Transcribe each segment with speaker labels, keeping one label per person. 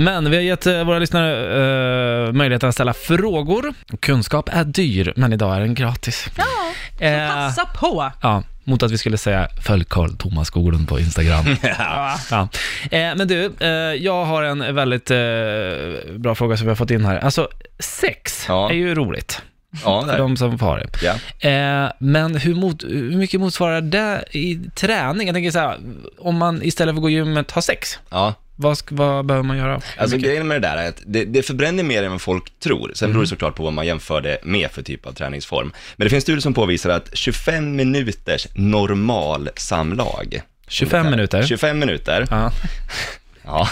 Speaker 1: Men vi har gett eh, våra lyssnare eh, möjligheten att ställa frågor. Kunskap är dyr, men idag är den gratis.
Speaker 2: Ja,
Speaker 1: Eh,
Speaker 2: passa på.
Speaker 1: Ja, mot att vi skulle säga följ Carl Thomas Skoglund på Instagram.
Speaker 2: Ja.
Speaker 1: Ja. Eh, men du, eh, jag har en väldigt eh, bra fråga som vi har fått in här. Alltså, sex
Speaker 3: Ja.
Speaker 1: är ju roligt
Speaker 3: Ja,
Speaker 1: för
Speaker 3: där.
Speaker 1: de som har det.
Speaker 3: Ja.
Speaker 1: Eh, men hur, mot, hur mycket motsvarar det i träning? Jag tänker så här, om man istället för att gå gymmet har sex,
Speaker 3: ja.
Speaker 1: vad, sk- vad behöver man göra? Hur mycket?
Speaker 3: Alltså
Speaker 1: Mhm.
Speaker 3: grejen med det där är att det, det förbränner mer än vad folk tror. Sen beror det såklart på vad man jämför det med för typ av träningsform. Men det finns studier som påvisar att 25 minuters normal samlag.
Speaker 1: 25 minuter.
Speaker 3: 25 minuter,
Speaker 1: Ja.
Speaker 3: ja.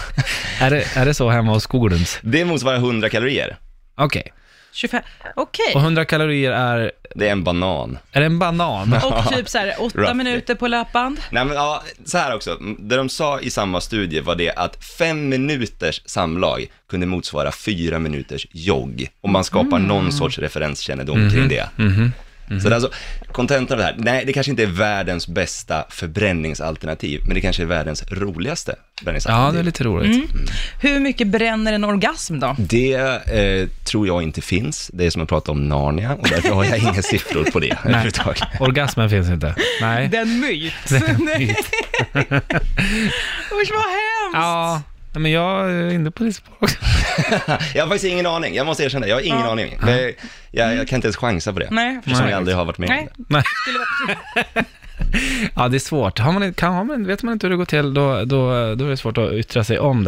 Speaker 1: Är, det, är det så hemma hos Skoglunds?
Speaker 3: Det motsvarar 100 kalorier.
Speaker 1: Okej.
Speaker 2: 25. Okej.
Speaker 1: Och 100 kalorier är,
Speaker 3: Det är en banan.
Speaker 1: är det en banan?
Speaker 2: Och typ så här åtta
Speaker 3: Roughly.
Speaker 2: minuter på löpband.
Speaker 3: Nej men ja, så här också. Mm, Det de sa i samma studie var det att fem minuters samlag kunde motsvara fyra minuters jogg. Om man skapar
Speaker 1: Mm.
Speaker 3: någon sorts referenskännedom
Speaker 1: Mhm.
Speaker 3: kring det. Så det är alltså, kontentan av det här, nej det kanske inte är världens bästa förbränningsalternativ, men det kanske är världens roligaste
Speaker 1: Ja, det är
Speaker 3: förbränningsalternativ.
Speaker 1: lite roligt.
Speaker 2: Hur mycket bränner en orgasm då?
Speaker 3: det eh, tror jag inte finns. Det är som att prata om Narnia och därför har jag inga siffror på det överhuvudtaget.
Speaker 1: Orgasmen finns inte. Nej.
Speaker 2: Den myt. Usch vad hemskt.
Speaker 1: Ja, men jag är inne på det spåret också.
Speaker 3: Jag har faktiskt ingen aning, jag måste erkänna, jag har ingen aning. Jag, jag, jag kan inte ens chansa på det.
Speaker 2: Nej, jag
Speaker 3: Som
Speaker 2: förstår.
Speaker 3: jag aldrig har varit med om.
Speaker 2: Nej.
Speaker 3: det.
Speaker 1: Nej.
Speaker 2: Skulle vara-
Speaker 1: Ja, det är svårt. Har man, kan, har man, vet man inte hur det går till, då, då, då är det svårt att yttra sig om